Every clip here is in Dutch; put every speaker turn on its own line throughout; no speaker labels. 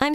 I'm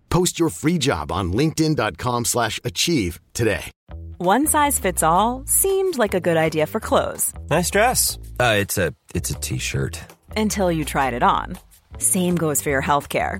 Post your free job on linkedin.com/achieve slash achieve today.
One size fits all seemed like a good idea for clothes
Nice dress. Uh, it's a it's a t-shirt.
until you tried it on. Same goes for your healthcare.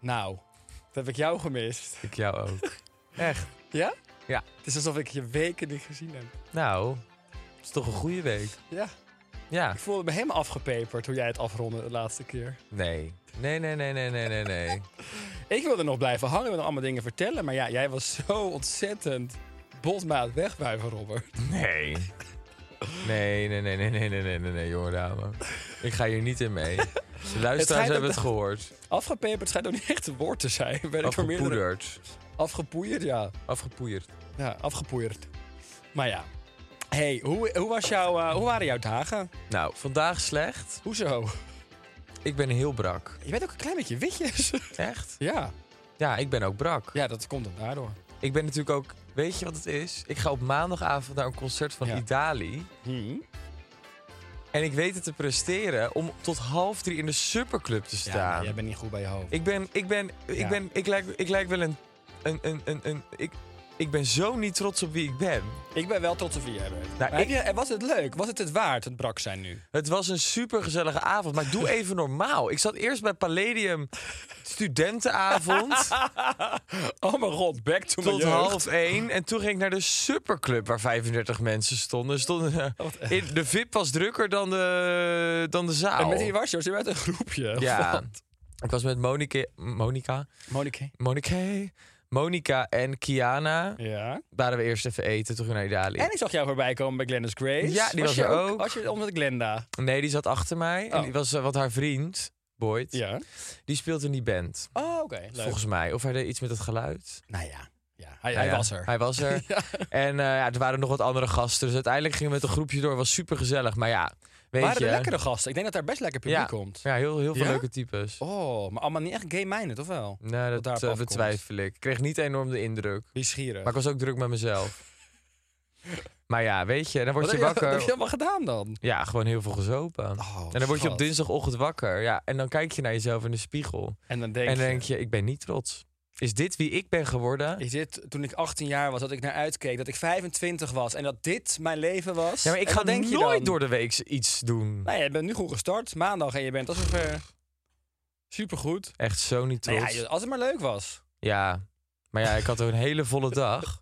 Nou, dat heb ik jou gemist.
Ik jou ook. Echt?
Ja?
Ja.
Het is alsof ik je weken niet gezien heb.
Nou, het is toch een goede week.
Ja.
Ja.
Ik voelde me helemaal afgepeperd hoe jij het afrondde de laatste keer.
Nee. Nee, nee, nee, nee, nee, nee, nee.
Ik wilde nog blijven hangen en allemaal dingen vertellen. Maar ja, jij was zo ontzettend botmaat wegwijven, Robert.
Nee. Nee, nee, nee, nee, nee, nee, nee, nee, nee, jonge dame. Ik ga hier niet in mee. De luisteraars
schijnt
hebben
dat-
het gehoord.
Afgepeperd schijnt ook niet echt een woord te zijn. Ben ik door meerdere...
Afgepoederd.
Afgepoeierd, ja.
Afgepoeierd.
Ja, afgepoeierd. Maar ja. hey, hoe, hoe, was jouw, eh, hoe waren jouw dagen?
Nou, vandaag slecht.
Hoezo?
Ik ben heel brak.
Je bent ook een klein beetje witjes.
Echt?
ja.
Ja, ik ben ook brak.
ja, dat komt dan daardoor.
Ik ben natuurlijk ook... Weet je wat het is? Ik ga op maandagavond naar een concert van
Ja.
Idali.
Hm.
En ik weet het te presteren om tot half drie in de superclub te
Ja, maar
staan.
jij bent niet goed bij je hoofd.
Ik ben, ik ben, ik
Ja.
ben, ik lijk, ik lijk wel een, een, een, een, een- ik, ik ben zo niet trots op wie ik ben.
Ik ben wel trots op wie jij bent.
Nou,
Maar
ik-
heb je- was het leuk? Was het het waard, het brak zijn nu?
Het was een supergezellige avond, maar doe even normaal. Ik zat eerst bij Palladium studentenavond
Oh mijn god, back to
tot half één. En toen ging ik naar de superclub waar 35 mensen stonden. stonden eh, in, de VIP was drukker dan de, dan de zaal.
En met die wasjes, je bent een groepje. of
ja,
wat?
ik was met Monique, Monica,
Monique.
Monique, Monica en Kiana.
Ja.
Waren we eerst even eten, toen gingen we naar Italië.
En ik zag jou voorbij komen bij Glenda's Grace.
Ja, die was
je
er ook.
Was je onder Glenda?
Nee, die zat achter mij. En
Oh.
die was, eh, want haar vriend, Boyd,
Ja.
die speelt in die band.
Oh, oké. leuk.
Volgens mij. Of hij deed iets met het geluid.
Nou ja. ja. Hij,
Nou
hij
ja,
was er.
Hij was er. En eh, ja, er waren nog wat andere gasten. Dus uiteindelijk gingen we met een groepje door. Was super gezellig. Maar ja, weet
Waren
je.
er lekkere gasten? Ik denk dat daar best lekker publiek
ja,
komt.
Ja, heel, heel veel
Ja?
leuke types.
Oh, maar allemaal niet echt gay-minded, of wel?
nee,
wat daarop
dat eh,
afkomt.
betwijfel ik. Ik kreeg niet enorm de indruk.
Nieuwsgierig.
Maar ik was ook druk met mezelf. maar ja, weet je, dan word
Wat
je
heb Wat heb
wakker.
je allemaal gedaan dan?
Ja, gewoon heel veel gezopen.
Oh,
en dan word je op
schat.
dinsdagochtend wakker. Ja, en dan kijk je naar jezelf in de spiegel.
En dan denk
en dan
je...
denk je, ik ben niet trots. Is dit wie ik ben geworden?
Is dit, toen ik 18 jaar was, dat ik naar uitkeek, dat ik 25 was en dat dit mijn leven was?
Ja, maar ik
En
ga
wat denk je
nooit
dan?
door de week iets doen.
Nou, je bent nu goed gestart, maandag en je bent alsof super supergoed.
Echt zo niet
Nou
trots.
ja,
ja,
je- als het maar leuk was.
maar ja, ik had ook een hele volle dag.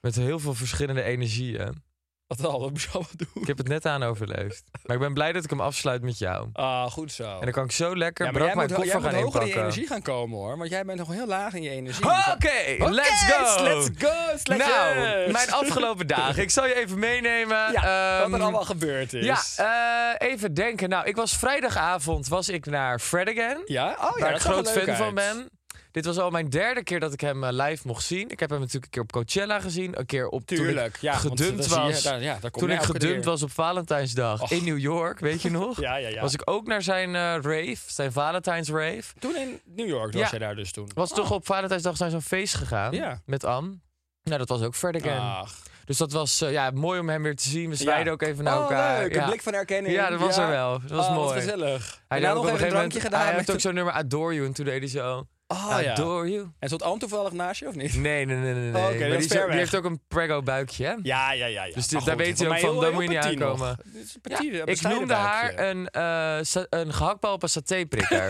Met heel veel verschillende energieën.
Wat dan? Wat moest je allemaal doen?
Ik heb het net aan overleefd. Maar ik ben blij dat ik hem afsluit met jou.
Ah, goed zo.
En dan kan ik zo lekker
ja, maar
brak
jij
mijn
moet, ho- jij
koffer
moet
gaan
hoger in je
inpakken.
energie gaan komen hoor, want jij bent nog heel laag in je energie.
Oké,
Oké,
let's go!
Let's go! sledges!
nou, mijn afgelopen dagen. Ik zal je even meenemen.
Ja, wat
Ehm,
er allemaal gebeurd is.
Ja, eh, even denken. Nou, ik was vrijdagavond was ik naar Fred Again.
ja? Oh ja,
waar ik
dat zag er
groot
leuk
fan van
uit.
ben. Dit was al mijn derde keer dat ik hem eh, live mocht zien. Ik heb hem natuurlijk een keer op Coachella gezien. Een keer op toen
Tuurlijk,
ik
ja. want eh,
gedumpt
dat zie je-
was.
daar- ja, daar kom
toen
je
ik
elke
gedumpt
keer.
was op Valentijnsdag
Och.
in New York, weet je nog?
Ja, ja, ja.
Was ik ook naar zijn eh, rave, zijn Valentijns rave.
Toen in New York was
Ja.
jij daar dus toen.
Was toch op Valentijnsdag naar zo'n feest gegaan
Ja. Ah,
met Am. Nou, dat was ook Fred Again.
Ach.
Dus dat was eh, ja, mooi om hem weer te zien. We zwaaiden ook even naar
oh,
elkaar.
Leuk.
Ja.
Een blik van herkenning.
Ja, dat was er wel. Dat was
Oh, Wat
mooi.
gezellig.
Hij
Daarna
had ook
nog
op
even een
gegeven
drankje
moment-
gedaan.
Hij
met
heeft ook zo'n nummer Adore You en toen deed hij zo...
Oh ja.
Adore you.
En stond Anton toevallig naast je, of niet?
Nee, nee, nee, nee. nee.
Oké,
Maar
dat
die,
is
is
ver
ook- die
weg.
heeft ook een prego buikje, hè?
Ja, ja, ja. ja.
Dus dit-
Maar
daar weet hij
voor
ook
mij
van,
heel-
daar
heel
moet je niet
petit nog.
aankomen.
Dit is een petit, een
ik
bescheiden
noemde haar
buikje.
een, eh, sa- een gehaktbal op een satéprikker.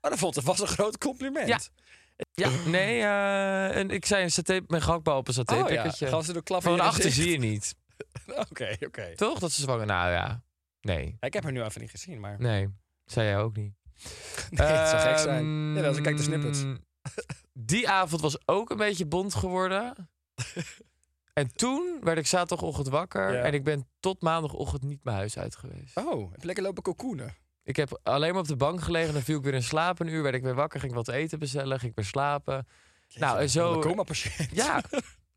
Oh, dat vond ik was een groot compliment. Oh,
Ja. ja, nee, eh, een, ik zei een saté, mijn gehaktbal op een
Oh ja,
satéprikkertje.
gaan ze door klappen
Van
in je
achter
gezicht?
zie je niet.
Oké, oké.
Toch? Dat ze zwanger... Nou ja, nee.
Ik heb haar nu even niet gezien, maar...
Nee, zei jij ook niet.
Nee, het zou gek zijn. Ja,
Ehm,
als ik kijk de snippets.
Die avond was ook een beetje bont geworden. en toen werd ik zaterdagochtend wakker.
Ja.
En ik ben tot maandagochtend niet mijn huis uit geweest.
Oh, heb je lekker lopen cocoenen.
Ik heb alleen maar op de bank gelegen. Dan viel ik weer in slaap. Een uur werd ik weer wakker. Ging ik wat eten bestellen. Ging ik weer slapen. nou, en
Een
zo...
coma patiënt.
Ja,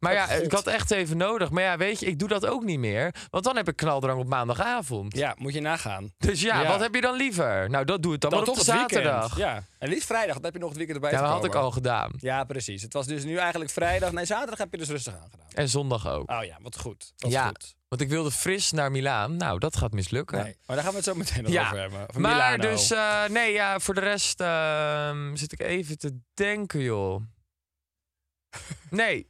maar ja,
God.
ik had echt even nodig. Maar ja, weet je, ik doe dat ook niet meer. Want dan heb ik knaldrang op maandagavond.
Ja, moet je nagaan.
Dus ja,
Ja.
wat heb je dan liever? Nou, dat doe ik dan,
Dan
wel op
toch
de
het weekend.
zaterdag.
Ja. En liefst vrijdag, dan heb je nog het weekend erbij
Ja, dat
te
had ik
komen.
al gedaan.
Ja, precies. Het was dus nu eigenlijk vrijdag. Nee, zaterdag heb je dus rustig aangedaan.
En zondag ook.
Oh ja, wat goed. Dat
ja,
is goed.
want ik wilde fris naar Milaan. Nou, dat gaat mislukken.
Nee. Maar daar gaan we het zo meteen nog
Ja,
over hebben. Van
maar
Milano.
dus, eh, nee, ja, voor de rest ehm, zit ik even te denken, joh. Nee,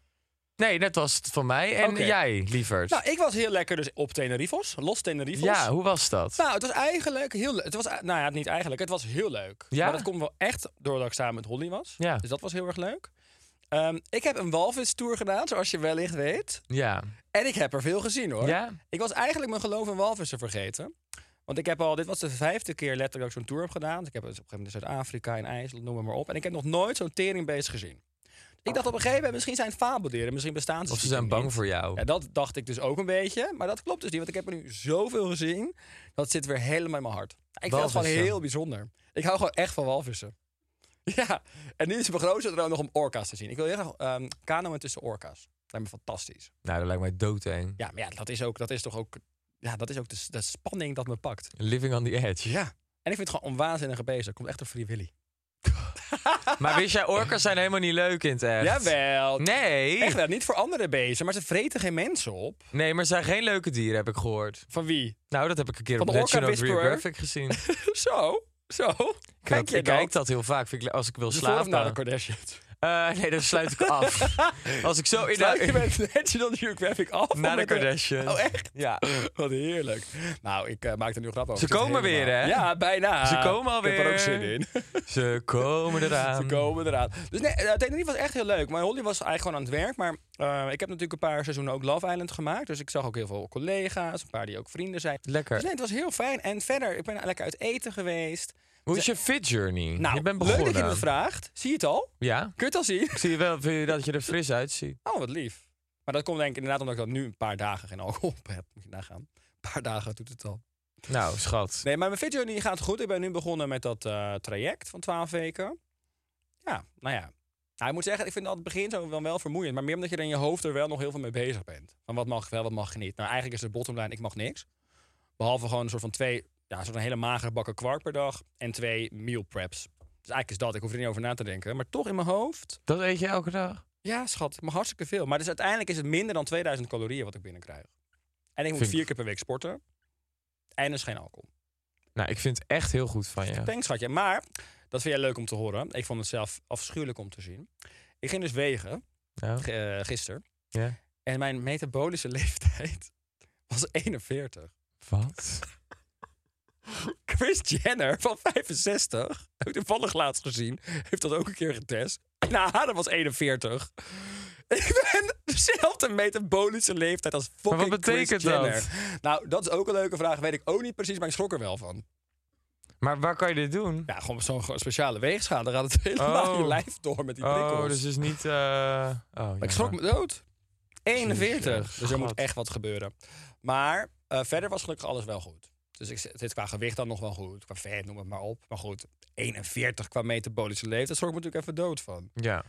nee, dat was het van mij. En
Oké.
jij, lieverd.
Nou, ik was heel lekker dus op Tenerifos. Los Tenerifos.
ja, hoe was dat?
Nou, het was eigenlijk heel leuk. Het was, nou ja, niet eigenlijk. Het was heel leuk.
Ja?
Maar dat komt wel echt doordat ik samen met Holly was.
Ja.
Dus dat was heel erg leuk. Ehm, ik heb een walvistour gedaan, zoals je wellicht weet.
ja,
En ik heb er veel gezien hoor.
Ja?
Ik was eigenlijk mijn geloof in walvissen vergeten. Want ik heb al, dit was de vijfde keer letterlijk dat ik zo'n tour heb gedaan. Dus ik heb dus op een gegeven moment in Zuid-Afrika, in IJsland, noem maar, maar op. En ik heb nog nooit zo'n teringbeest gezien. Ik dacht op een gegeven moment, misschien zijn het fabeldieren, misschien bestaan ze
of ze
stiekem
zijn bang
niet.
voor jou.
Ja, dat dacht ik dus ook een beetje. Maar dat klopt dus niet, want ik heb er nu zoveel gezien. Dat zit weer helemaal in mijn hart. Ik vind dat gewoon
Walvissen.
heel bijzonder. Ik hou gewoon echt van walvissen. Ja, en nu is mijn grootste droom nog om orka's te zien. Ik wil heel graag ehm kanoën tussen orka's. Dat lijkt me fantastisch.
Nou, dat lijkt mij doodeng.
Ja, maar ja, dat is ook, dat is toch ook, ja, dat is ook de, de spanning dat me pakt.
Living on the edge.
Ja. En ik vind het gewoon een waanzinnige beest. Dat komt echt door Free Willy.
Maar wist jij, orka's zijn helemaal niet leuk in het echt.
Jawel.
Nee.
Echt wel, niet voor andere bezen, maar ze vreten geen mensen op.
Nee, maar ze zijn geen leuke dieren, heb ik gehoord.
Van wie?
Nou, dat heb ik een keer
Van
op
de orca
National
whisperer?
Geographic gezien. Ik
zo, zo. Kijk
heb-
je
ik kijk dat heel vaak vind ik, le- als ik wil
Voor of na de
slapen.
Kardashian?
Eh, nee, dat sluit ik af. als ik zo in
Sluit je
de...
met National Geographic af? of
Na de
met
Kardashians.
Oh, echt?
Ja.
Wat heerlijk. Nou, ik eh, maak er nu een grap over.
Ze
Ik zit
komen weer,
helemaal-
hè?
Ja, bijna.
Ze komen
Ik heb er ook
alweer.
zin in.
Ze komen eraan.
Ze komen eraan. Dus nee, eh, Tenerife was echt heel leuk. Maar Holly was eigenlijk gewoon aan het werk. Maar eh, ik heb natuurlijk een paar seizoenen ook Love Island gemaakt. Dus ik zag ook heel veel collega's. Een paar die ook vrienden zijn.
Lekker.
Dus nee, het was heel fijn. En verder, ik ben lekker uit eten geweest.
Hoe is je fit journey?
Nou,
Mm, je bent
leuk
begonnen.
dat je dat vraagt. Zie je het al?
Ja?
Kun je het al zien?
Ik zie wel vind je dat je er fris uitziet.
Oh, wat lief. Maar dat komt denk ik inderdaad omdat ik dat nu een paar dagen geen alcohol op heb. Moet je nagaan. Een paar dagen doet het al.
Nou, schat.
Nee, maar mijn fit journey gaat goed. Ik ben nu begonnen met dat eh, traject van 12 weken. Ja, nou ja. Nou, ik moet zeggen, ik vind dat het begin zo wel, wel vermoeiend. Maar meer omdat je er in je hoofd er wel nog heel veel mee bezig bent. Van wat mag wel, wat mag niet. Nou, eigenlijk is de bottomline, ik mag niks. Behalve gewoon een soort van twee, ja, een soort van hele magere bakken kwark per dag. En twee meal preps. Dus eigenlijk is dat, ik hoef er niet over na te denken. Maar toch in mijn hoofd,
Dat eet je elke dag?
ja schat, ik mag hartstikke veel. Maar dus uiteindelijk is het minder dan 2000 calorieën wat ik binnenkrijg. En ik moet
Vind ik-
vier keer per week sporten. En er is geen alcohol.
Nou, ik vind het echt heel goed van je.
Thanks, schatje. Maar, dat vind jij leuk om te horen. Ik vond het zelf afschuwelijk om te zien. Ik ging dus wegen,
Nou,
eh, gisteren.
ja.
En mijn metabolische leeftijd was 41.
Wat?
Chris Jenner van 65, heb ik toevallig laatst gezien, heeft dat ook een keer getest. En haar dat was 41. Ik ben dezelfde metabolische leeftijd als fucking
wat betekent
Kris
dat?
Jenner. Nou, dat is ook een leuke vraag. Weet ik ook niet precies, maar ik schrok er wel van.
Maar waar kan je dit doen?
Ja, gewoon op zo'n speciale weegschaal. Dan gaat het helemaal
Oh.
je lijf door met die prikkels.
Oh, dus is niet... eh Oh,
Maar ik schrok me dood. 41.
Jezus,
dus er moet
schat.
echt wat gebeuren. Maar eh, verder was gelukkig alles wel goed. Dus ik zit zit qua gewicht dan nog wel goed. Qua vet, noem het maar op. Maar goed, 41 qua metabolische leeftijd. Zorg ik me natuurlijk even dood van.
Ja.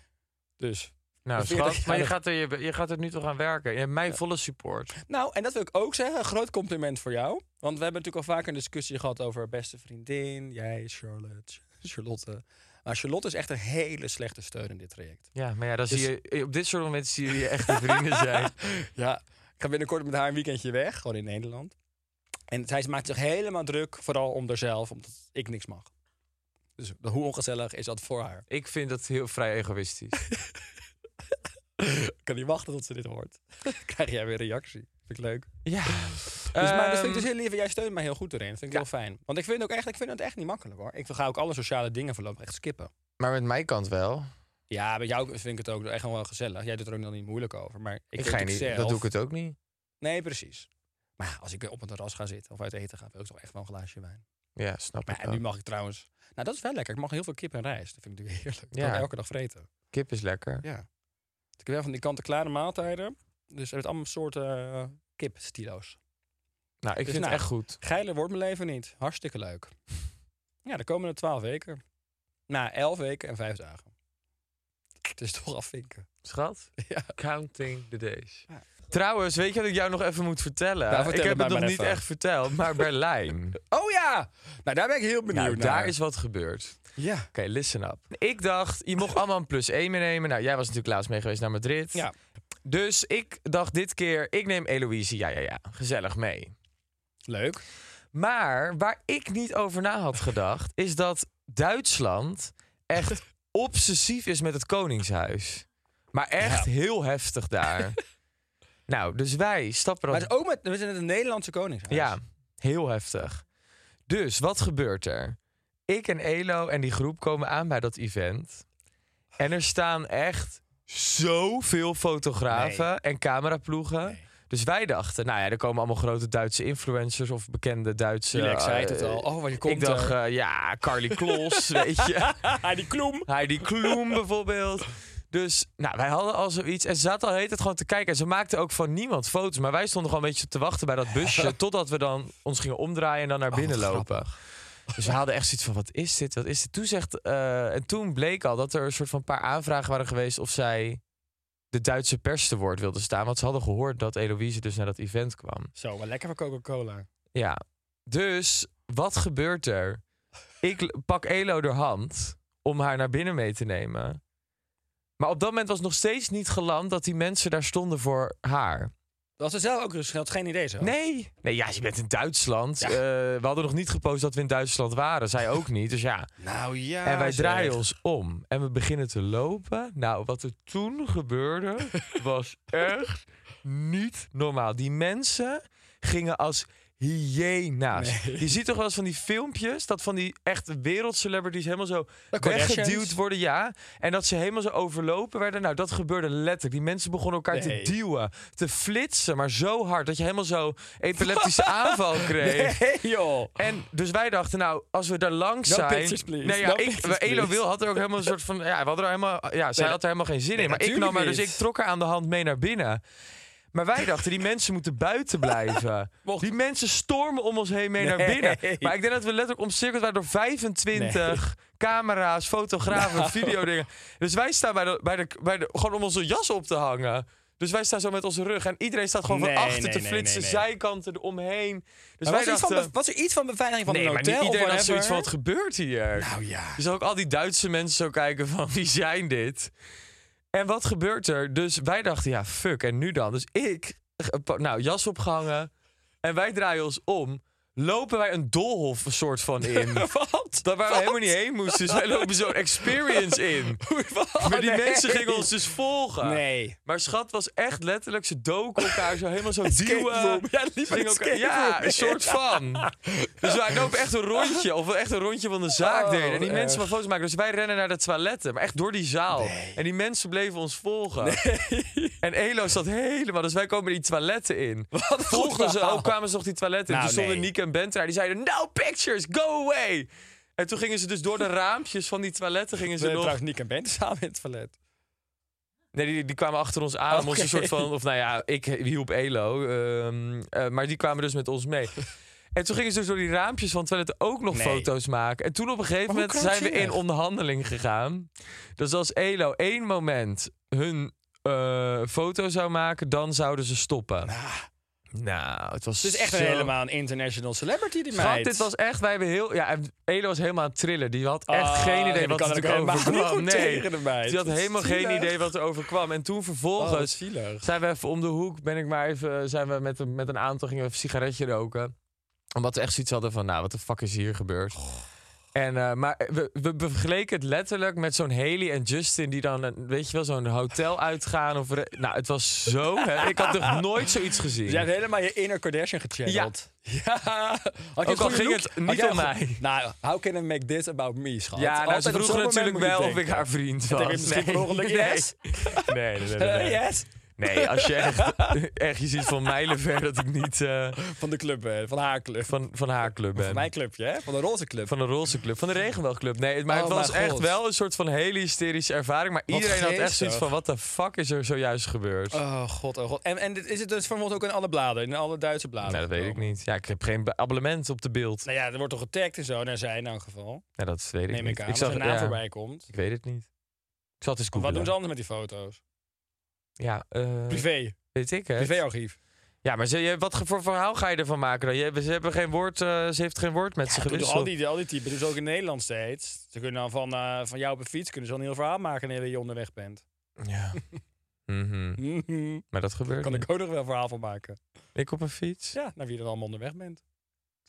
Dus.
Nou,
Een 40
schat, maar je
jaar-
gaat, er, je, je gaat er nu toch aan werken. Je hebt mijn volle support.
Nou, en dat wil ik ook zeggen. Een groot compliment voor jou. Want we hebben natuurlijk al vaker een discussie gehad over beste vriendin. Jij, Charlotte. Charlotte. Maar Charlotte is echt een hele slechte steun in dit traject.
Ja, maar ja, dan
Dus-
zie je, op dit soort momenten zie je je echte vrienden zijn.
Ja, ik ga binnenkort met haar een weekendje weg, gewoon in Nederland. En zij maakt zich helemaal druk, vooral om haarzelf, omdat ik niks mag. Dus Dus hoe ongezellig is dat voor haar?
Ik vind dat heel vrij egoïstisch.
kan niet wachten tot ze dit hoort. Krijg jij weer een reactie. Vind ik leuk.
ja.
Dus, maar dat
Ehm,
vind ik dus heel lief. en Jij steunt mij heel goed erin. Dat vind ik heel fijn. Want ik vind, ook echt, ik vind het echt niet makkelijk hoor. Ik ga ook alle sociale dingen voorlopig echt skippen.
maar met mijn kant wel.
Ja, met jou vind ik het ook echt gewoon wel gezellig. Jij doet er ook nog niet moeilijk over. Maar ik,
Ik,
vind
ga
het
niet,
zelf-
dat doe ik het ook niet.
Nee, precies. Maar ja, als ik op een terras ga zitten of uit eten ga, wil ik toch echt wel een glaasje wijn.
Ja, snap
Maar
ik
ja, nu
wel.
mag ik trouwens... Nou, dat is wel lekker. Ik mag heel veel kip en rijst. Dat vind ik natuurlijk heerlijk.
Ja.
Ja. elke dag vreten.
Kip is lekker.
Ja. Dus ik heb wel van die kant-en-klare maaltijden. Dus er zijn allemaal soorten eh, kipstilo's.
Nou, ik
Dus
vind
nou,
het echt goed.
Geiler wordt mijn leven niet. Hartstikke leuk. Ja, de komende twaalf weken. Na elf weken en vijf dagen. Het is toch afvinken.
Schat,
Ja.
counting the days.
Ja.
Trouwens, weet je wat ik jou nog even moet vertellen?
Nou, vertel
ik heb
het mij
het nog
maar
niet
even.
echt verteld, maar Berlijn.
Oh ja! Nou, daar ben ik heel benieuwd
nou,
naar.
daar is wat gebeurd.
Ja.
Oké, listen up. Ik dacht, je mocht allemaal een plus 1 meenemen. Nou, jij was natuurlijk laatst mee geweest naar Madrid.
Ja.
Dus ik dacht dit keer, ik neem Eloïse, ja, ja, ja, gezellig mee.
Leuk.
Maar waar ik niet over na had gedacht, is dat Duitsland echt obsessief is met het Koningshuis. Maar echt heel heftig daar. nou, dus wij stappen dan
Maar het is ook met, we zijn het een Nederlandse koningshuis.
ja, heel heftig. Dus wat gebeurt er? Ik en Elo en die groep komen aan bij dat event. En er staan echt zoveel fotografen
Nee.
en cameraploegen.
Nee.
Dus wij dachten, nou ja, er komen allemaal grote Duitse influencers of bekende Duitse.
Jullie, ik zei het
eh,
al. Oh, wat je komt
Ik dacht,
er.
eh, ja, Carly Klos, weet je.
Ah, die kloem.
Heidi Kloem bijvoorbeeld. Dus nou, wij hadden al zoiets. En ze zaten al heet het gewoon te kijken. En ze maakten ook van niemand foto's. Maar wij stonden gewoon een beetje te wachten bij dat busje. Totdat we dan ons gingen omdraaien en dan naar
Oh, wat
binnen lopen. Dus we hadden echt zoiets van, wat is dit? Wat is dit? Toen, zegt, eh, en toen bleek al dat er een soort van paar aanvragen waren geweest... of zij de Duitse pers te woord wilde staan. Want ze hadden gehoord dat Eloïse dus naar dat event kwam.
Zo, maar lekker van Coca-Cola.
Ja. Dus wat gebeurt er? Ik l- pak Elo de hand om haar naar binnen mee te nemen. Maar op dat moment was nog steeds niet geland dat die mensen daar stonden voor haar.
Dat ze zelf ook dus had geen idee zo.
Nee. Nee, ja, je bent in Duitsland.
Ja.
Eh, we hadden nog niet gepost dat we in Duitsland waren. Zij ook niet. Dus ja.
Nou ja.
En wij
zeg.
draaien ons om en we beginnen te lopen. Nou, wat er toen gebeurde was echt niet normaal. Die mensen gingen als hyena's. Je ziet toch wel eens van die filmpjes dat van die echt wereldcelebrities helemaal zo
De Kardashians.
weggeduwd worden, ja. En dat ze helemaal zo overlopen werden. Nou, dat gebeurde letterlijk. Die mensen begonnen elkaar
Nee.
te duwen, te flitsen, maar zo hard dat je helemaal zo epileptische aanval kreeg.
Nee, joh.
En dus wij dachten, nou, als we daar langs
No
zijn.
pictures, please.
Nee, ja,
No
ik,
pictures,
Elo
please.
Wil had er ook helemaal een soort van. Ja, we hadden er helemaal, ja zij
Nee,
had er helemaal geen zin
nee,
in. Maar ik
natuurlijk
nam haar, dus
niet.
ik trok haar aan de hand mee naar binnen. Maar wij dachten, die mensen moeten buiten blijven.
Mocht-
Die mensen stormen om ons heen mee naar
Nee.
binnen. Maar ik denk dat we letterlijk omcirkeld waren door 25 camera's, fotografen, videodingen. Dus wij staan bij de, bij de, bij de, gewoon om onze jas op te hangen. Dus wij staan zo met onze rug en iedereen staat gewoon
Nee,
van achter
nee,
te
nee,
flitsen,
nee, nee.
zijkanten eromheen. Dus
Maar
wij
was, er iets van,
dachten,
be- was er iets van beveiliging van
nee,
een
maar
hotel
niet iedereen
of
had zoiets van,
whatever?
wat gebeurt hier?
Nou ja.
Dus ook al die Duitse mensen zo kijken van, wie zijn dit? En wat gebeurt er? Dus wij dachten, ja, fuck, en nu dan? Dus ik, eh, pa- nou, jas opgehangen. En wij draaien ons om. Lopen wij een doolhof soort van in.
Wat?
Dat waar we helemaal niet heen moesten. Dus wij lopen zo'n experience in.
Wat?
Maar die
Oh, Nee.
mensen gingen ons dus volgen.
Nee.
Maar schat was echt letterlijk, ze doken elkaar zo helemaal zo
Escape room.
duwen.
Ja, liep
Ze gingen
een
elkaar-
escape
ja,
room.
een soort van. Dus wij lopen echt een rondje, of we echt een rondje van de zaak
Oh,
deden. En die
erg.
mensen van foto's maken, dus wij rennen naar de toiletten. Maar echt door die zaal. En die mensen bleven ons volgen. En Elo zat helemaal, dus wij komen die toiletten in.
een
Volgden
goed
ze
verhaal.
ook, kwamen ze nog die toiletten in.
Nou,
Toen stonden
nee.
Nick en Bent daar, die zeiden, no pictures, go away. En toen gingen ze dus door de raampjes van die toiletten gingen
Ze
ze nog...
trouwens Nick en Ben samen in het toilet.
Nee, die, die kwamen achter ons aan. om ons een
Oké.
soort van, of nou ja, ik hielp Elo. ehm, eh, maar die kwamen dus met ons mee. En toen gingen ze dus door die raampjes van het toilet ook nog
Nee.
foto's maken. En toen op een gegeven
Maar hoe
moment zijn we in
krankzinnig.
onderhandeling gegaan. Dus als Elo één moment hun eh, foto zou maken, dan zouden ze stoppen. Nou, het was
Het is echt een
zo-
helemaal een international celebrity, die
Schat,
meid.
dit was echt, wij hebben heel... Ja, en Elo was helemaal aan het trillen. Die had echt
Ah,
geen
nee,
idee
die
wat
kan
er
er ook
natuurlijk
helemaal niet
overkwam.
goed
Nee,
tegen de meid.
die had
Wat
helemaal geen
zielig.
idee wat er overkwam. En toen
Oh, wat
vervolgens
zielig.
zijn we even om de hoek, ben ik maar even, eh, zijn we met een, met een aantal, gingen we even een sigaretje roken. Omdat we echt zoiets hadden van, nou, wat de fuck is hier gebeurd? En, eh, maar we, we vergeleken het letterlijk met zo'n Haley en Justin... die dan, een- weet je wel, zo'n hotel uitgaan. Of, re- nou, het was zo... hè. Ik had nog nooit zoiets gezien.
Dus jij hebt helemaal je inner Kardashian gechanneld. Ja. Had je
al
goede
ging
look?
het
Had
niet
jij
om
een go-
mij.
Nou, how can I make this about me, schat?
ja, nou,
Altijd
ze
op
vroeg
zo'n moment
natuurlijk
moet
wel
je
of
denken.
ik haar vriend
En
was.
toen heb je misschien per ongeluk
nee.
yes?
Nee, nee, nee, nee,
Eh,
nee.
yes?
Nee, als je echt, echt je ziet van mijlen ver dat ik niet eh,
Van de club, eh, van haar club.
van, van haar club ben.
Van mijn clubje, hè? Ehm, Van de roze club.
Van de roze club, van de regenboogclub. Nee, maar
Oh,
het was
mijn
echt
god.
wel een soort van hele hysterische ervaring. Maar
Wat
iedereen had echt
geestig.
zoiets van, wat de fuck is er zojuist gebeurd?
Oh god, oh god. En, en dit- is het dus vermoord ook in alle bladen, in alle Duitse bladen?
nou, dat weet ik
gekomen?
niet. Ja, ik heb geen be- abonnement op de beeld.
Nou ja, er wordt toch getagd en zo, naar zij in elk geval.
Nou, dat weet ik
Neem
niet.
ik aan, als er
het
naam voorbij komt.
Ik weet het niet. Ik zat eens
Wat
googlen.
doen ze anders met die foto's?
Ja, eh,
Privé.
weet ik hè.
Privéarchief.
Ja, maar ze, je- wat ge- voor verhaal ga je ervan maken dan? Je, ze, hebben geen woord, eh, ze heeft geen woord met
Ja,
ze
dat doen
gewisseld.
al die, al die typen, dus ook in Nederland steeds. Ze kunnen dan van, eh, van jou op een fiets kunnen ze dan een heel verhaal maken wanneer je onderweg bent.
Ja. Mhm.
Mhm.
Maar dat gebeurt
kan
niet.
ik ook nog wel een verhaal van maken.
Ik op een fiets?
Ja, naar wie je dan allemaal onderweg bent.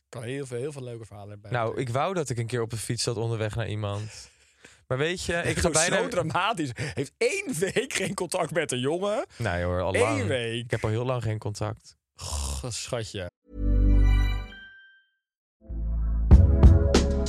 Kan heel veel, heel veel leuke verhalen erbij.
Nou, ik wou dat ik een keer op een fiets zat onderweg naar iemand. Maar weet je, ik ga bijna...
Zo dramatisch. Heeft één week geen contact met een jongen.
Nee hoor, al
Eén
lang.
week.
Ik heb al heel lang geen contact.
Goh, schatje.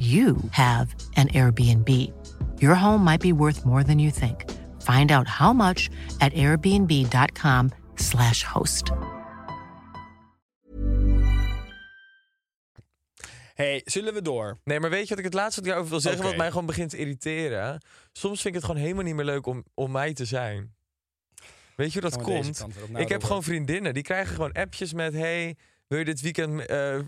you have an Airbnb. Your home might be worth more than you think. Find out how much at airbnb.com/slash host.
hey, zullen we door?
Nee, maar weet je wat ik het laatste wat ik daarover wil zeggen?
Oké.
Wat mij gewoon begint te irriteren. Soms vind ik het gewoon helemaal niet meer leuk om, om mij te zijn. Weet je hoe dat
Gaan we deze
komt?
kant weer op? Nou,
ik heb
Robert.
gewoon vriendinnen. Die krijgen gewoon appjes met... Hey, wil je dit weekend eh,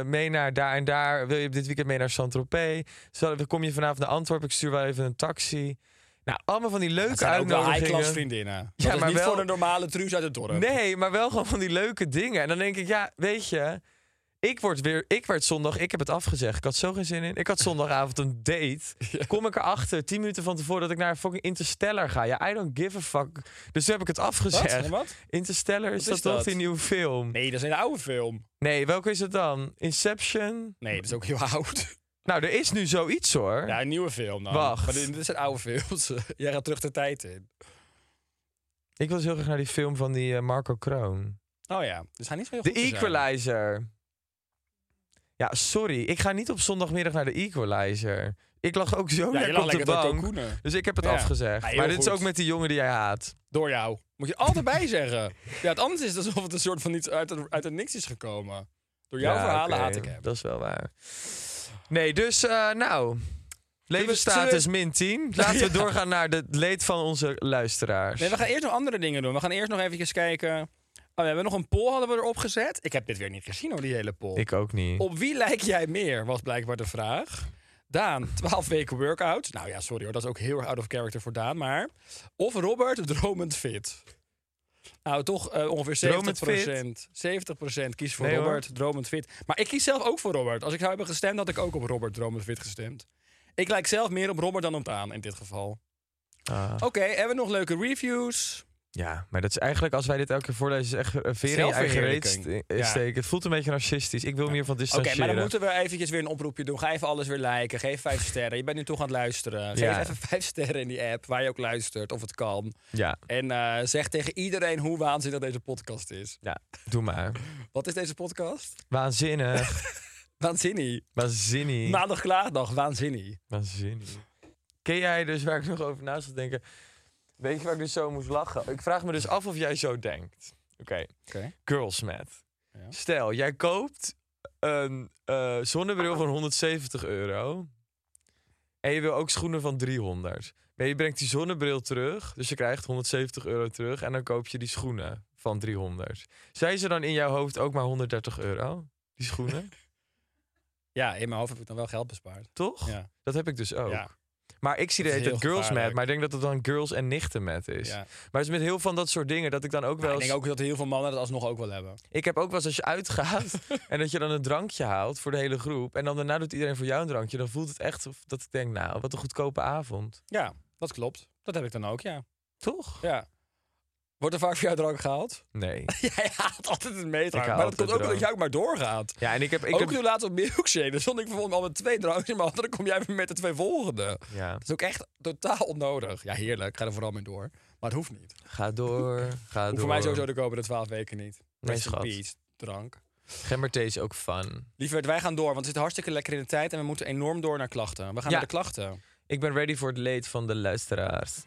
eh, mee naar daar en daar? Wil je dit weekend mee naar Saint-Tropez? Zal- Kom je vanavond naar Antwerpen? Ik stuur wel even een taxi. Nou, allemaal van die
Het
leuke
zijn ook wel high-class
uitnodigingen.
vriendinnen.
Ja,
Dat is
maar
niet
wel-
voor een normale truus uit het dorp.
Nee, maar wel gewoon van die leuke dingen. En dan denk ik, ja, weet je, ik word weer, ik werd zondag, ik heb het afgezegd. Ik had zo geen zin in. Ik had zondagavond een date. Kom ik erachter, tien minuten van tevoren, dat ik naar fucking Interstellar ga. Ja, I don't give a fuck. Dus toen heb ik het
Wat?
afgezegd.
En wat?
Interstellar is,
is
dat, toch
dat?
die nieuwe film?
Nee, dat is een oude film.
Nee, welke is het dan? Inception?
Nee, dat is ook heel oud.
Nou, er is nu zoiets hoor.
Ja, een nieuwe film dan.
Wacht.
Maar dit, dit zijn oude films. Jij gaat terug de tijd in.
Ik wil dus heel graag naar die film van die eh, Marco Kroon.
Oh ja, dus hij niet zo heel
De
goed te zijn.
Equalizer. Ja, sorry. Ik ga niet op zondagmiddag naar de Equalizer. Ik lag ook zo
Ja, je
lekker
lag
op de
lekker te
bank.
kokoenen.
Dus ik heb het
Ja.
afgezegd.
Ja, heel
maar dit is
goed.
ook met die jongen die jij haat.
Door jou. Moet je er altijd bij zeggen. Ja, het anders is het alsof het een soort van iets uit het, uit het niks is gekomen. Door jouw
Ja,
verhalen
oké,
haat ik hem.
Dat is wel waar. Nee, dus eh, nou.
zullen
Levensstatus
we-
min 10. Laten we doorgaan naar het leed van onze luisteraars.
Nee, we gaan eerst nog andere dingen doen. We gaan eerst nog eventjes kijken. Oh, we hebben nog een poll hadden we erop gezet. Ik heb dit weer niet gezien hoor, die hele poll.
Ik ook niet.
Op wie lijk jij meer, was blijkbaar de vraag. Daan, 12 weken workout. Nou ja, sorry hoor, dat is ook heel erg out of character voor Daan, maar... Of Robert, dromend fit. Nou, toch eh, ongeveer 70%.
Dromend fit?
70% kiest voor
Nee, hoor.
Robert, dromend fit. Maar ik kies zelf ook voor Robert. Als ik zou hebben gestemd, had ik ook op Robert, dromend fit gestemd. Ik lijk zelf meer op Robert dan op Daan, in dit geval.
Ah.
Oké, hebben we nog leuke reviews?
Ja, maar dat is eigenlijk, als wij dit elke keer voorlezen, is echt eh, veren in je eigen reet
Zelfverheerlijking.
ste- eh,
Ja.
steken. Het voelt een beetje narcistisch. Ik wil me hiervan
Oké,
distancieren.
maar dan moeten we eventjes weer een oproepje doen. Ga even alles weer liken. Geef vijf sterren. Je bent nu toch aan het luisteren. Geef
Ja.
even vijf sterren in die app waar je ook luistert, of het kan.
Ja,
En eh, zeg tegen iedereen hoe waanzinnig deze podcast is.
ja, doe maar.
Wat is deze podcast?
Waanzinnig.
Waanzinnig.
Waanzinnig.
Maandag klaagdag, waanzinnig.
Waanzinnig. Ken jij dus waar ik nog over na zat denken? Weet je waar ik dus zo moest lachen? Ik vraag me dus af of jij zo denkt. Oké,
Oké.
girlsmat.
Ja.
Stel, jij koopt een eh, zonnebril van 170 euro. En je wil ook schoenen van 300. Maar je brengt die zonnebril terug. Dus je krijgt 170 euro terug. En dan koop je die schoenen van 300. Zijn ze dan in jouw hoofd ook maar 130 euro? Die schoenen,
Ja, in mijn hoofd heb ik dan wel geld bespaard.
toch?
Ja.
Dat heb ik dus ook.
Ja.
Maar ik zie de
Dat
hele
is
tijd
heel
girls met,
gevaarlijk.
maar ik denk dat het dan girls en nichten met is.
Ja. Nou,
Maar het is met heel veel van dat soort dingen dat ik dan ook wel
ik
eens...
denk ook dat heel veel mannen dat alsnog ook wel hebben.
Ik heb ook wel eens als je uitgaat en dat je dan een drankje haalt voor de hele groep. En dan daarna doet iedereen voor jou een drankje. Dan voelt het echt of- dat ik denk, nou, wat een goedkope avond.
Ja, dat klopt. Dat heb ik dan ook, ja.
Toch?
ja. Wordt er vaak voor jou drank gehaald?
Nee.
Jij haalt altijd een meetrank.
haal
Maar dat
altijd
komt ook omdat
drank.
jij ook maar doorgaat.
Ja, en ik heb... Ik
ook
heb
toen laatst op milkshake. Dan stond ik bijvoorbeeld al met twee drankjes in mijn handen. Dan kom jij weer met de twee volgende.
ja,
Dat is ook echt totaal onnodig. Ja, heerlijk. Ik ga er vooral mee door. Maar het hoeft niet.
ga door, ga door.
Hoeft voor mij sowieso de komende twaalf weken niet.
Nee,
Rest in
schat.
peace, drank.
Gemberthee is ook fun.
Lieverd, wij gaan door, want het zit hartstikke lekker in de tijd... en we moeten enorm door naar klachten. We
Ja.
gaan naar de klachten.
Ik ben ready voor het leed van de luisteraars.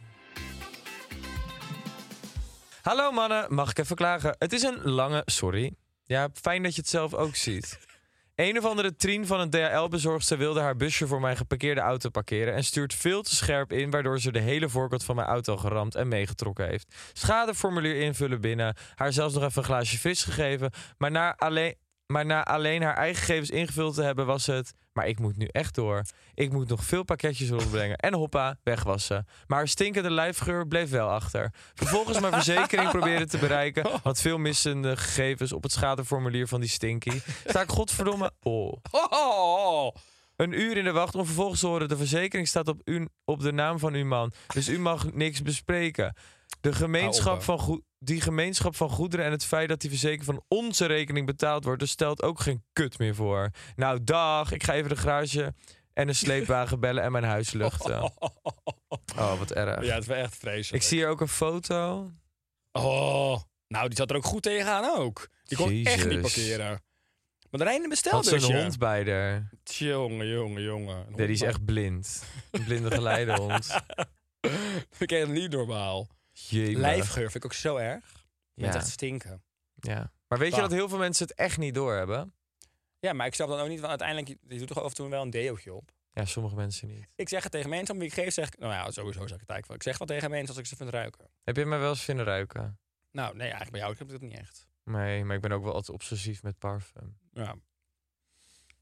Hallo mannen, mag ik even klagen? Het is een lange, sorry. Ja, fijn dat je het zelf ook ziet. Een of andere trien van een DHL-bezorgster wilde haar busje voor mijn geparkeerde auto parkeren en stuurt veel te scherp in, waardoor ze de hele voorkant van mijn auto geramd en meegetrokken heeft. Schadeformulier invullen binnen, haar zelfs nog even een glaasje vis gegeven, maar na alleen, maar na alleen haar eigen gegevens ingevuld te hebben was het. Maar ik moet nu echt door. Ik moet nog veel pakketjes rondbrengen en hoppa, wegwassen. Maar haar stinkende lijfgeur bleef wel achter. Vervolgens mijn verzekering proberen te bereiken. Had veel missende gegevens op het schadeformulier van die stinky. Sta ik godverdomme... Oh.
Oh,
Een uur in de wacht om vervolgens te horen... de verzekering staat op, u, op de naam van uw man. Dus u mag niks bespreken. De
Hou op,
gemeenschap
hè.
van goe- die gemeenschap van goederen en het feit dat die verzekering van onze rekening betaald wordt... dus stelt ook geen kut meer voor. Nou, dag. Ik ga even de garage en een sleepwagen bellen en mijn huis luchten. Oh, wat erg.
Ja, het was echt vreselijk.
Ik zie hier ook een foto.
Oh, nou, die zat er ook goed tegenaan ook. Die kon echt niet
Jezus.
parkeren. Maar de dus, rijden
Had
bestelde
zo'n hond bij haar.
Jongen, jongen, jongen.
Nee, die is echt blind. Een blinde geleidehond.
Vind ik echt niet normaal.
Jee,
Lijfgeur vind ik ook zo erg. Ja.
Ja,
echt stinken.
ja. Maar weet je
Bah.
dat heel veel mensen het echt niet doorhebben?
Ja, maar ik snap dan ook niet, want uiteindelijk, je doet toch af en toe wel een deootje op.
Ja, sommige mensen niet.
Ik zeg het tegen mensen om wie ik geef, zeg ik, nou ja, sowieso zeg ik het eigenlijk wel. Ik zeg wel tegen mensen als ik ze vind ruiken.
Heb je mij wel eens vinden ruiken?
Nou, nee, eigenlijk bij jou heb ik dat niet echt.
Nee, maar ik ben ook wel altijd obsessief met parfum.
Ja.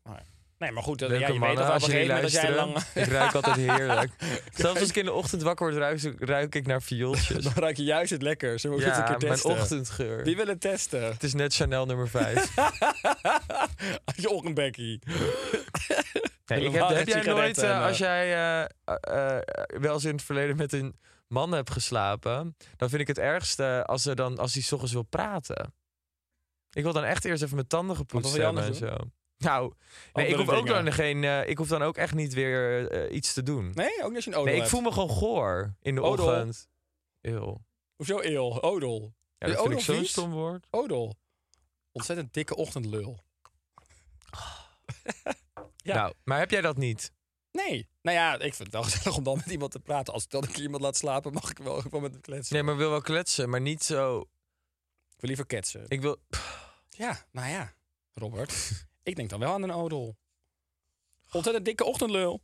Maar- Nee, maar goed, dat,
Leuke
ja, je weet
mannen,
toch
als
op een
jullie
gegeven moment dat jij
luisteren.
lang...
Ik ruik altijd heerlijk. Zelfs als ik in de ochtend wakker word, ruik, ruik ik naar viooltjes.
Dan ruik je juist het lekker. Zullen we het
Ja,
een keer
mijn
testen?
ochtendgeur.
Wie wil het testen?
Het is net Chanel nummer 5.
Jochen Becky.
Nee, ik heb,
Helemaal
heb jij
geen
nooit,
sigaretten
eh,
en,
als jij eh, eh, eh, wel eens in het verleden met een man hebt geslapen, dan vind ik het ergste als hij dan als hij 's ochtends wil praten. Ik wil dan echt eerst even mijn tanden gepoetst
Wat wil je
hebben en
anders
zo. Nou, nee, ik,
Andere
hoef ook
dingen.
dan geen, eh, ik hoef dan ook echt niet weer eh, iets te doen. Nee,
Nee, ook niet als je een odel
ik
hebt.
voel me gewoon goor in de
Odel.
ochtend. Eeuw.
Hoezo eel? Odel.
Ja,
Is
dat vind
odel
ik zo'n
vies?
stom woord.
Odel. Ontzettend dikke ochtendlul. Ja.
Nou, maar heb jij dat niet?
Nee. Nou ja, ik vind het wel gezellig om dan met iemand te praten. Als ik dan een keer iemand laat slapen, mag ik wel gewoon met hem kletsen.
Nee, maar ik wil wel kletsen, maar niet zo.
Ik wil liever ketsen.
Ik wil.
Ja, nou ja. Robert, ik denk dan wel aan een odel. Ontzettend dikke ochtendlul.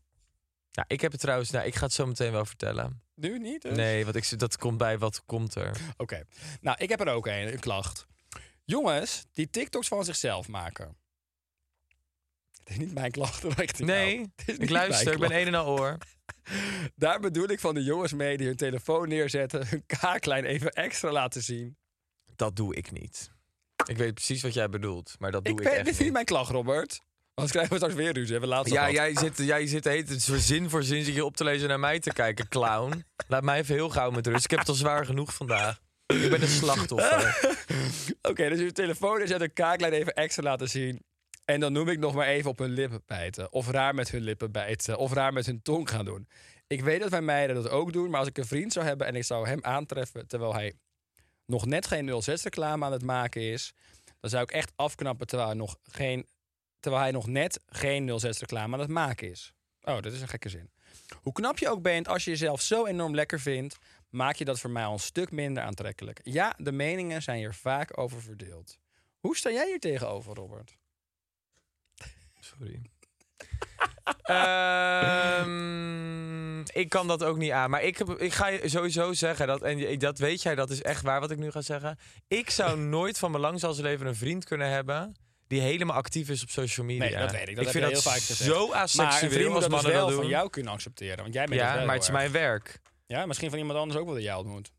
Nou, ik heb het trouwens. Nou, ik ga het zo meteen wel vertellen.
Nu niet dus?
Nee, want ik, zit- dat komt bij wat komt er.
Oké. Nou, ik heb er ook een, een klacht. Jongens die TikToks van zichzelf maken. Het is niet mijn klacht, hoor, echt niet, nou.
Nee,
Het is niet
ik
mijn
luister, ik ben
klacht.
een en al oor.
Daar bedoel ik van de jongens mee die hun telefoon neerzetten, hun kaaklijn even extra laten zien.
Dat doe ik niet. Ik weet precies wat jij bedoelt, maar dat doe
Ik
ik,
ben, dit
echt
is niet
niet.
mijn klacht, Robert. Anders krijgen we straks weer ruzie. Hebben we laatst al
Ja,
gehad.
jij zit, jij zit heet het voor zin voor zin zit je op te lezen en naar mij te kijken, clown. Laat mij even heel gauw met rust. Ik heb het al zwaar genoeg vandaag. Ik ben een slachtoffer.
Oké, dus je telefoon is uit een kaaklijn even extra laten zien. En dan noem ik nog maar even op hun lippen bijten. Of raar met hun lippen bijten. Of raar met hun tong gaan doen. Ik weet dat mijn meiden dat ook doen. Maar als ik een vriend zou hebben en ik zou hem aantreffen... terwijl hij nog net geen 06 reclame aan het maken is... dan zou ik echt afknappen terwijl hij nog, geen, terwijl hij nog net geen 06 reclame aan het maken is. Oh, dat is een gekke zin. Hoe knap je ook bent, als je jezelf zo enorm lekker vindt, maak je dat voor mij al een stuk minder aantrekkelijk. Ja, de meningen zijn hier vaak over verdeeld. Hoe sta jij hier tegenover, Robert?
Sorry. Ehm, ik kan dat ook niet aan. Maar ik, heb, ik ga je sowieso zeggen, dat, en je- dat weet jij, dat is echt waar wat ik nu ga zeggen. Ik zou nooit van mijn langzalsleven een vriend kunnen hebben... die die helemaal actief is op social media.
Nee, dat weet ik. Dat
ik vind
heb
dat
je heel vaak gezegd.
zo
Maar een vriend
asexueel
moet
als
dat dus
mannen
wel
dat
van
doen.
jou kunnen accepteren. Want jij bent
ja,
dat wel
maar het is
heel erg.
mijn werk.
Ja, misschien van iemand anders ook wel dat jij ontmoet. Dus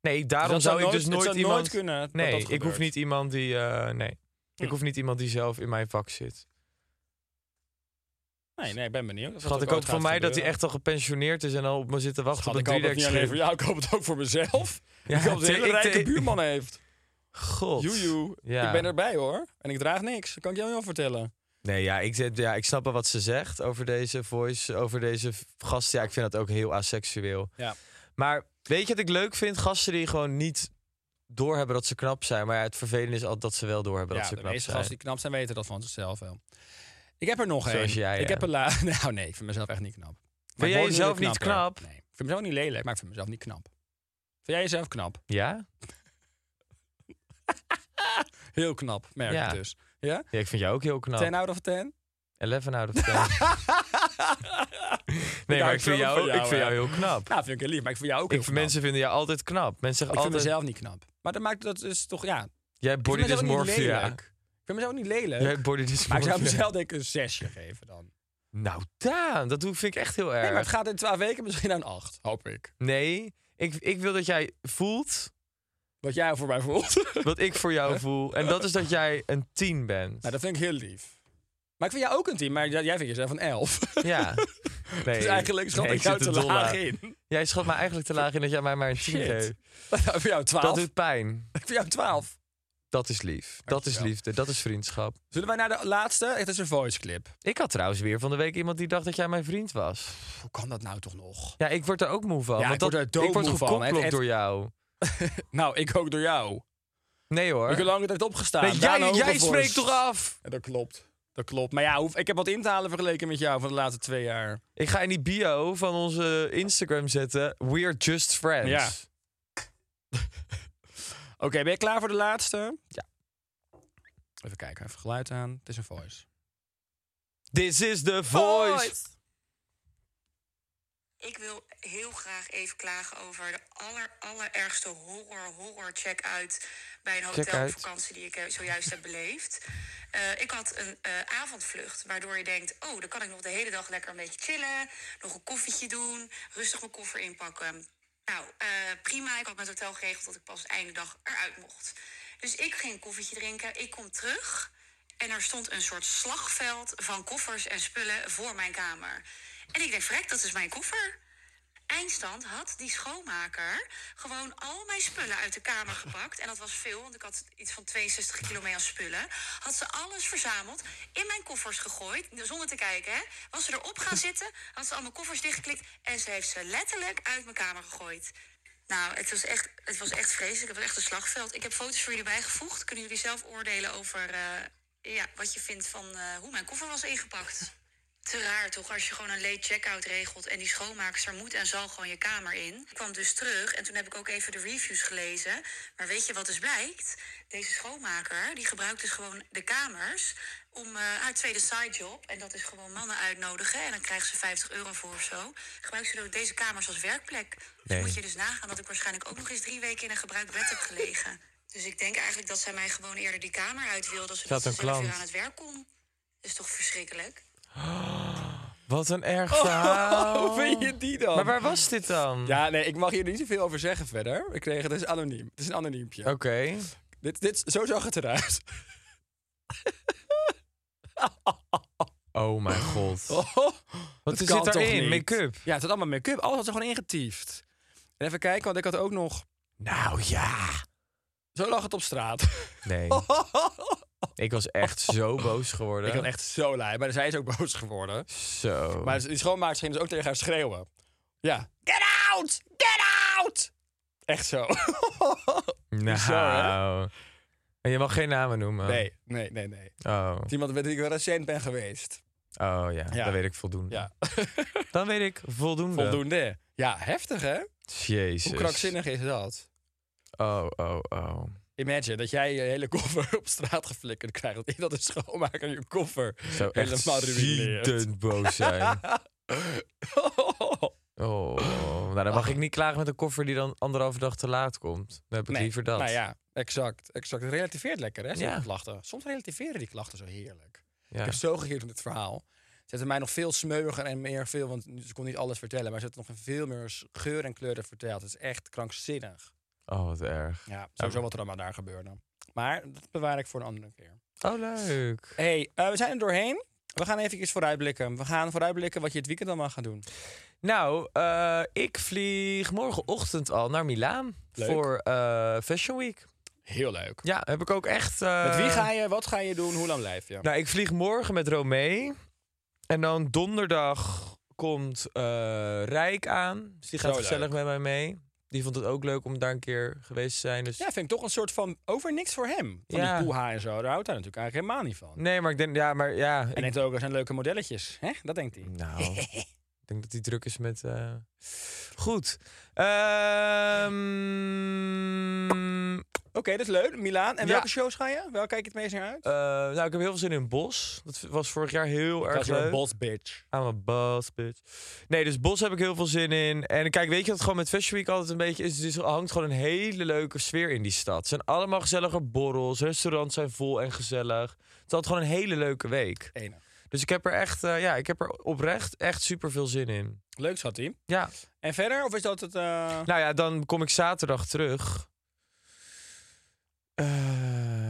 Nee, daarom
dat
zou ik dus
het
nooit
zou
iemand...
nooit kunnen dat
nee,
dat
ik hoef
gebeurt.
niet iemand die... eh, nee, ik
Hm.
hoef niet iemand die zelf in mijn vak zit.
Nee, nee, ik ben benieuwd. of dat
Schat, ik hoop
ooit
van
gaat
mij dat hij
gebeuren.
echt al gepensioneerd is en al op me zit te wachten
Schat,
op
ik
een
hoop het niet alleen
driedeksscherm.
voor jou, ik hoop het ook voor mezelf.
Ja,
ik hoop dat
te-
een hele
ik te-
rijke buurman heeft.
God.
Joejoe,
Ja.
ik ben erbij hoor. En ik draag niks, dat kan ik jou wel vertellen.
Nee, ja ik, zit- ja, ik snap wel wat ze zegt over deze voice, over deze v- gast. Ja, ik vind dat ook heel asexueel.
Ja.
Maar weet je wat ik leuk vind? Gasten die gewoon niet doorhebben dat ze knap zijn. Maar ja, het vervelende is altijd dat ze wel doorhebben
ja,
dat ze
de
knap
meeste
zijn.
gasten die knap zijn weten dat van zichzelf wel. Ik heb er nog
Zoals
één.
jij,
Ik
ja.
heb er la- Nou nee, ik vind mezelf echt niet knap. Maar ik
jij
word nu
jezelf
weer
niet
knapper.
knap?
Nee, ik vind mezelf niet lelijk, maar ik vind mezelf niet knap. Vind jij jezelf knap?
Ja?
Heel knap, merk
Ja.
ik dus. Ja?
ja? Ik vind jou ook heel knap.
10 out of 10?
11 out of 10. nee, maar
hou
ik vind
zo
jou,
van jou,
ik vind
hè.
jou heel knap.
Nou, vind ik heel lief, maar ik vind jou ook
Ik,
heel knap.
mensen vinden jou altijd knap. Mensen
ik
zeggen
vind
altijd,
mezelf niet knap. Maar dat maakt dat is toch, ja. Ik
jij body
vind mezelf ook niet
dysmorphia.
lelijk. Ik vind mezelf niet lelijk.
Jij body
maar ik zou
dysmorphia.
mezelf denk ik een zesje geven dan.
Nou, Daan, dat doe- vind ik echt heel erg.
Nee, maar het gaat in twaalf weken misschien naar een acht, hoop ik.
Nee, ik, ik wil dat jij voelt
Wat jij voor mij voelt.
wat ik voor jou voel. En dat is dat jij een tien bent.
nou, dat vind ik heel lief. Maar ik vind jou ook een tien, maar jij jij vindt jezelf een elf.
Ja. Nee,
dus eigenlijk schat
nee,
ik jou
zit
te
er dol
laag
aan.
in.
Jij schat mij eigenlijk te laag in dat jij mij maar een tien
Shit.
geeft.
Nou, ik vind jou een twaalf.
Dat doet pijn.
Ik vind jou een twaalf.
Dat is lief. Dat is
Dankjewel.
liefde. Dat is vriendschap.
Zullen wij naar de laatste? Het is een voice clip.
Ik had trouwens weer van de week iemand die dacht dat jij mijn vriend was.
Hoe kan dat nou toch nog?
Ja, ik word er ook moe van.
Ja,
want
ik
dat,
word er doodmoe
ik word
van.
gekoppeld
Het- het-
door jou.
Nou, ik ook door jou.
Nee hoor.
Ik heb lang tijd opgestaan.
Nee,
Daan
jij jij
Hogevorst.
spreekt toch af?
Ja, dat klopt. Dat klopt. Maar ja, hoe- ik heb wat in te halen vergeleken met jou van de laatste twee jaar.
Ik ga in die bio van onze Instagram zetten. We're just friends.
Ja. Oké, ben je klaar voor de laatste?
Ja.
Even kijken, even geluid aan. Het is een voice.
This is the voice.
Ik wil heel graag even klagen over de aller, allerergste horror, horror check-out bij een
Check-out.
hotelvakantie die ik eh, zojuist heb beleefd. Eh, ik had een eh, avondvlucht, waardoor je denkt, oh, dan kan ik nog de hele dag lekker een beetje chillen, nog een koffietje doen, rustig mijn koffer inpakken. Nou, eh, prima, ik had met het hotel geregeld dat ik pas het einde dag eruit mocht. Dus ik ging een koffietje drinken, ik kom terug en er stond een soort slagveld van koffers en spullen voor mijn kamer. En ik dacht, vrek, dat is mijn koffer. Eindstand had die schoonmaker gewoon al mijn spullen uit de kamer gepakt. En dat was veel, want ik had iets van 62 kilo mee aan spullen. Had ze alles verzameld, in mijn koffers gegooid, zonder te kijken. Hè. Was ze erop gaan zitten, had ze al mijn koffers dichtgeklikt. En ze heeft ze letterlijk uit mijn kamer gegooid. Nou, het was echt, het was echt vreselijk. Het was echt een slagveld. Ik heb foto's voor jullie bijgevoegd. Kunnen jullie zelf oordelen over eh, ja, wat je vindt van eh, hoe mijn koffer was ingepakt? Te raar toch, als je gewoon een late checkout regelt en die schoonmaakster moet en zal gewoon je kamer in. Ik kwam dus terug en toen heb ik ook even de reviews gelezen. Maar weet je wat dus blijkt? Deze schoonmaker die gebruikt dus gewoon de kamers om eh, haar tweede sidejob. En dat is gewoon mannen uitnodigen en dan krijgen ze 50 euro voor of zo. Gebruikt ze deze kamers als werkplek. Dus
Nee.
moet je dus nagaan dat ik waarschijnlijk ook nog eens drie weken in een gebruikt bed heb gelegen. Dus ik denk eigenlijk dat zij mij gewoon eerder die kamer uit wilde. Zodat
had
ze
een
zelf weer
klant.
aan het werk kon. Dat is toch verschrikkelijk?
Wat een erg verhaal.
Oh, Hoe vind je die dan?
Oh. Maar waar was dit dan?
Ja, nee, ik mag hier niet zoveel over zeggen verder. Ik kreeg het, het is anoniem. Het is een anoniempje.
Oké.
Dit, dit, zo zag het eruit.
Oh mijn god. Wat
Dat
zit
kan toch
daarin?
niet?
Make-up?
Ja, het had allemaal make-up. Alles had ze gewoon ingetiefd. En even kijken, want ik had ook nog...
Nou ja.
Zo lag het op straat.
Nee. Ik was echt zo boos geworden.
ik had echt zo lui. Maar zij is ook boos geworden.
Zo.
Maar die schoonmaakster ging dus ook tegen haar schreeuwen. Ja. Get out! Get out! Echt zo.
nou.
Zo, hè?
en je mag geen namen noemen.
nee, nee, nee, nee. Het
Oh.
is iemand met wie ik wel recent ben geweest.
Oh ja.
Ja.
Dan weet ik voldoende.
Ja.
Dan weet ik voldoende.
Voldoende. Ja, heftig hè?
Jezus.
Hoe krankzinnig is dat?
Oh, oh, oh.
Imagine dat jij je hele koffer op straat geflikkerd krijgt. Dat iemand een schoonmaker in je koffer
Zo echt
helemaal ruïneert.
ziedend boos zijn. Oh, Nou, dan mag ik niet klagen met een koffer die dan anderhalve dag te laat komt. Dan heb ik liever dat.
Nou ja, exact. exact. Het relativeert lekker, hè? Soms
Ja.
klachten. Soms relativeren die klachten zo heerlijk.
Ja.
Ik heb zo gegeerd van dit verhaal. Ze hebben mij nog veel smeuiger en meer veel, want ze kon niet alles vertellen, maar ze hebben nog veel meer s- geur en kleuren verteld. Het is echt krankzinnig.
Oh, wat erg.
Ja, sowieso wat er allemaal daar gebeurde. Maar dat bewaar ik voor een andere keer.
Oh, leuk.
hey, eh, we zijn er doorheen. We gaan even vooruitblikken. We gaan vooruitblikken wat je het weekend allemaal gaat doen.
Nou, eh, ik vlieg morgenochtend al naar Milaan
Leuk.
voor eh, Fashion Week.
Heel leuk.
Ja, heb ik ook echt. eh,
Met wie ga je, wat ga je doen, hoe lang blijf je?
Nou, ik vlieg morgen met Romee. En dan donderdag komt eh, Rijk aan. Dus die gaat
Zo
gezellig
leuk.
met mij mee. Die vond het ook leuk om daar een keer geweest te zijn. Dus...
Ja, vind ik toch een soort van over niks voor hem. Van
Ja.
die poeha en zo, daar houdt hij natuurlijk eigenlijk helemaal niet van.
Nee, maar ik denk, ja, maar ja.
En
ik-
denkt ook, er zijn leuke modelletjes. Hè? Dat denkt hij.
Nou, ik denk dat hij druk is met. eh, Goed. Ehm,
Oké, dat is leuk. Milaan. En
Ja.
welke shows ga je? Welke kijk je het meest naar uit?
eh, nou, ik heb heel veel zin in Bos. Dat was vorig jaar heel erg leuk.
bot bitch.
I'm a boss, bitch. Nee, dus Bos heb ik heel veel zin in. En kijk, weet je wat gewoon met Fashion Week altijd een beetje is? Dus er hangt gewoon een hele leuke sfeer in die stad. Het zijn allemaal gezellige borrels. Restaurants zijn vol en gezellig. Het is altijd gewoon een hele leuke week.
Ene.
Dus ik heb er echt, eh, ja, ik heb er oprecht echt super veel zin in.
Leuk schat hij.
Ja.
En verder? Of is dat het... eh,
Nou ja, dan kom ik zaterdag terug. Eh,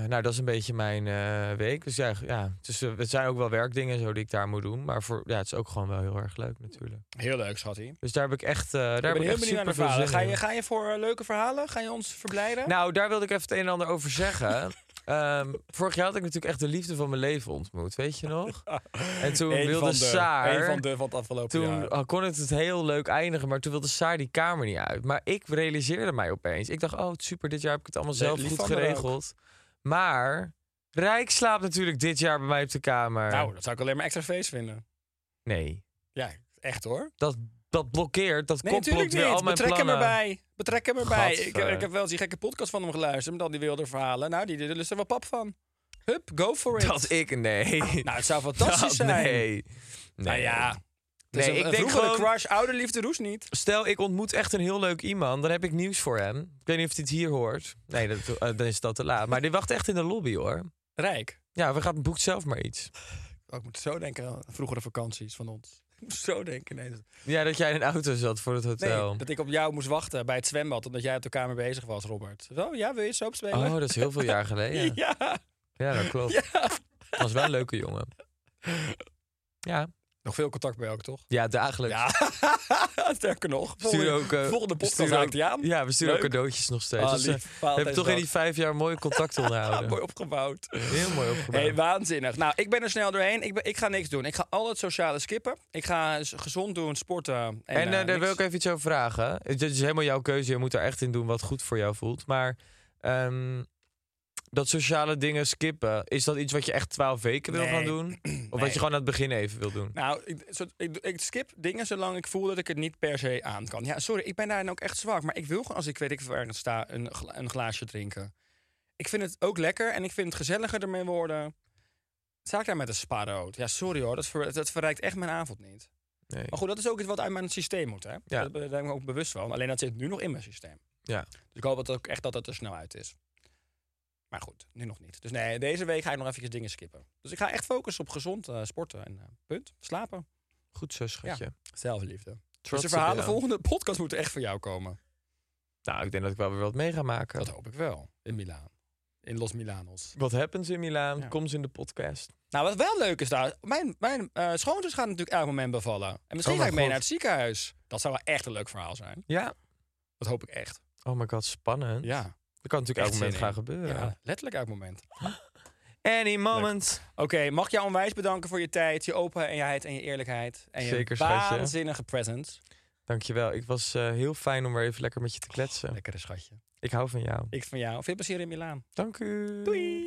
nou, dat is een beetje mijn eh, week. Dus ja, ja het, is, eh, het zijn ook wel werkdingen en zo die ik daar moet doen. Maar voor, ja, het is ook gewoon wel heel erg leuk natuurlijk.
Heel leuk schat hij.
Dus daar heb ik echt, eh, daar
Ik
heb
ben
ik
heel
echt
benieuwd naar de
super veel
verhalen.
zin
Ga
in.
je, ga je voor eh, leuke verhalen? Ga je ons verblijden?
Nou, daar wilde ik even het een en ander over zeggen. Ehm, vorig jaar had ik natuurlijk echt de liefde van mijn leven ontmoet, weet je nog? En toen
Eén
wilde
van de,
Saar...
één van de van het afgelopen
Toen oh, eh,
jaar.
kon het het heel leuk eindigen, maar toen wilde Saar die kamer niet uit. Maar ik realiseerde mij opeens. Ik dacht, oh super, dit jaar heb ik het allemaal
Nee,
zelf
lief
goed
van haar ook.
geregeld. Maar Rijk slaapt natuurlijk dit jaar bij mij op de kamer.
Nou, dat zou ik alleen maar extra feest vinden.
Nee,
Ja, echt hoor.
dat, dat blokkeert, dat
Nee,
komt
natuurlijk
weer al
niet.
mijn
Betrek
plannen.
hem erbij. Betrek hem erbij. Ik,
Gadver.
ik heb wel eens die gekke podcast van hem geluisterd. Met al die wilde verhalen. Nou, die, die lust er wel pap van. Hup, go for it.
Dat ik, nee.
Nou, het zou fantastisch zijn.
Nee. nee.
Nou ja.
Nee, ik denk
gewoon...
gewoon...
crush, ouderliefde roes niet.
Stel, ik ontmoet echt een heel leuk iemand. Dan heb ik nieuws voor hem. Ik weet niet of hij het hier hoort. Nee, dat, eh, dan is dat te laat. Maar die wacht echt in de lobby, hoor.
Rijk.
Ja, we gaan boekt zelf maar iets.
Oh, ik moet zo denken aan vroegere vakanties van ons. Ik moet zo denken. Nee, dat-
Ja, dat jij in een auto zat voor het
nee,
hotel.
dat ik op jou moest wachten bij het zwembad. Omdat jij op de kamer bezig was, Robert. Zo, ja, wil je soap spelen?
Oh, dat is heel veel jaar geleden. Ja,
ja.
dat klopt. Dat was wel een leuke jongen. Ja,
Nog veel contact bij elkaar, toch?
ja dagelijks.
Ja, sterker nog.
We sturen ook, eh,
volgende
we
podcast
sturen ook-
raakt hij aan.
Ja, we sturen
Leuk.
ook cadeautjes nog steeds.
Ah,
Dus, eh,
lief.
we hebben toch in die
Valentijnsdag.
vijf jaar mooie contacten onderhouden.
Mooi opgebouwd.
Heel mooi opgebouwd.
Hey, waanzinnig. Nou, ik ben er snel doorheen. Ik, ben, ik ga niks doen. Ik ga al het sociale skippen. Ik ga s- gezond doen, sporten. En,
En
eh,
eh, daar
niks.
wil ik even iets over vragen. Het is helemaal jouw keuze. Je moet daar echt in doen wat goed voor jou voelt. Maar ehm, dat sociale dingen skippen, is dat iets wat je echt twaalf weken wil
Nee.
gaan doen? Of wat
Nee.
je gewoon aan het begin even wil doen?
Nou, ik, zo- ik, ik skip dingen zolang ik voel dat ik het niet per se aan kan. Ja, sorry, ik ben daarin ook echt zwak. Maar ik wil gewoon, als ik weet ik waar ergens sta, een, gla- een glaasje drinken. Ik vind het ook lekker en ik vind het gezelliger ermee worden. Sta ik daar met een sparrood? Ja, sorry hoor, dat, ver- dat verrijkt echt mijn avond niet.
Nee.
Maar goed, dat is ook iets wat uit mijn systeem moet, hè?
Ja.
Dat ben- Daar ben ik me ook bewust van. Alleen dat zit nu nog in mijn systeem.
Ja.
Dus ik hoop dat ook echt dat het er snel uit is. Maar goed, nu nog niet. Dus nee, deze week ga ik nog eventjes dingen skippen. Dus ik ga echt focussen op gezond eh, sporten en eh, punt. Slapen.
Goed zo, schatje.
Zelfliefde. Dus
Trots
de
op
verhalen
jou.
volgende podcast moeten echt van jou komen.
Nou, ik denk dat ik wel weer wat mee ga maken.
Dat hoop ik wel. In Milaan. In Los Milanos.
Wat happens in Milaan?
Ja.
Kom ze in de podcast.
Nou, wat wel leuk is daar. Mijn, mijn eh, schoonzus gaat natuurlijk elk moment bevallen. En misschien
Oh
ga
mijn
ik mee
God.
naar het ziekenhuis. Dat zou wel echt een leuk verhaal zijn.
Ja.
Dat hoop ik echt.
Oh my god, spannend.
Ja.
Dat kan natuurlijk
Echt
elk moment
zin
gaan
in.
gebeuren.
Ja, letterlijk elk moment.
Any moment.
Oké, mag ik jou onwijs bedanken voor je tijd, je openheid en je eerlijkheid. En je
Zeker, schatje.
waanzinnige presence.
Dankjewel. Ik was eh, heel fijn om weer even lekker met je te kletsen.
Lekkere schatje.
ik hou van jou.
Ik van jou. Veel plezier in Milaan.
Dank u.
Doei.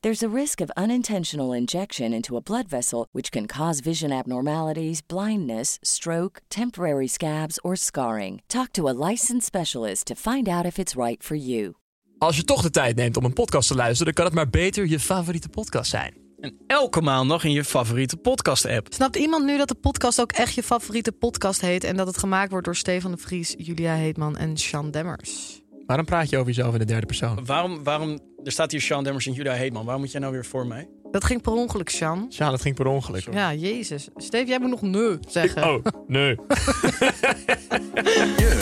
There's a risk of unintentional injection into a blood vessel, which can cause vision abnormalities, blindness, stroke, temporary scabs, or scarring. Talk to a licensed specialist to find out if it's right for you.
Als je toch de tijd neemt om een podcast te luisteren, dan kan het maar beter je favoriete podcast zijn.
En elke maandag in je favoriete podcast-app.
Snapt iemand nu dat de podcast ook echt je favoriete podcast heet en dat het gemaakt wordt door Stefan de Vries, Julia Heetman en Sean Demmers?
Waarom praat je over jezelf in de derde persoon?
Waarom, waarom, er staat hier Sean Demmers en Judah Heetman. Waarom moet jij nou weer voor mij?
Dat ging per ongeluk, Sean.
Ja, dat ging per ongeluk.
Oh,
Ja, jezus. Steve, jij moet nog nee zeggen.
Oh, nee.
Je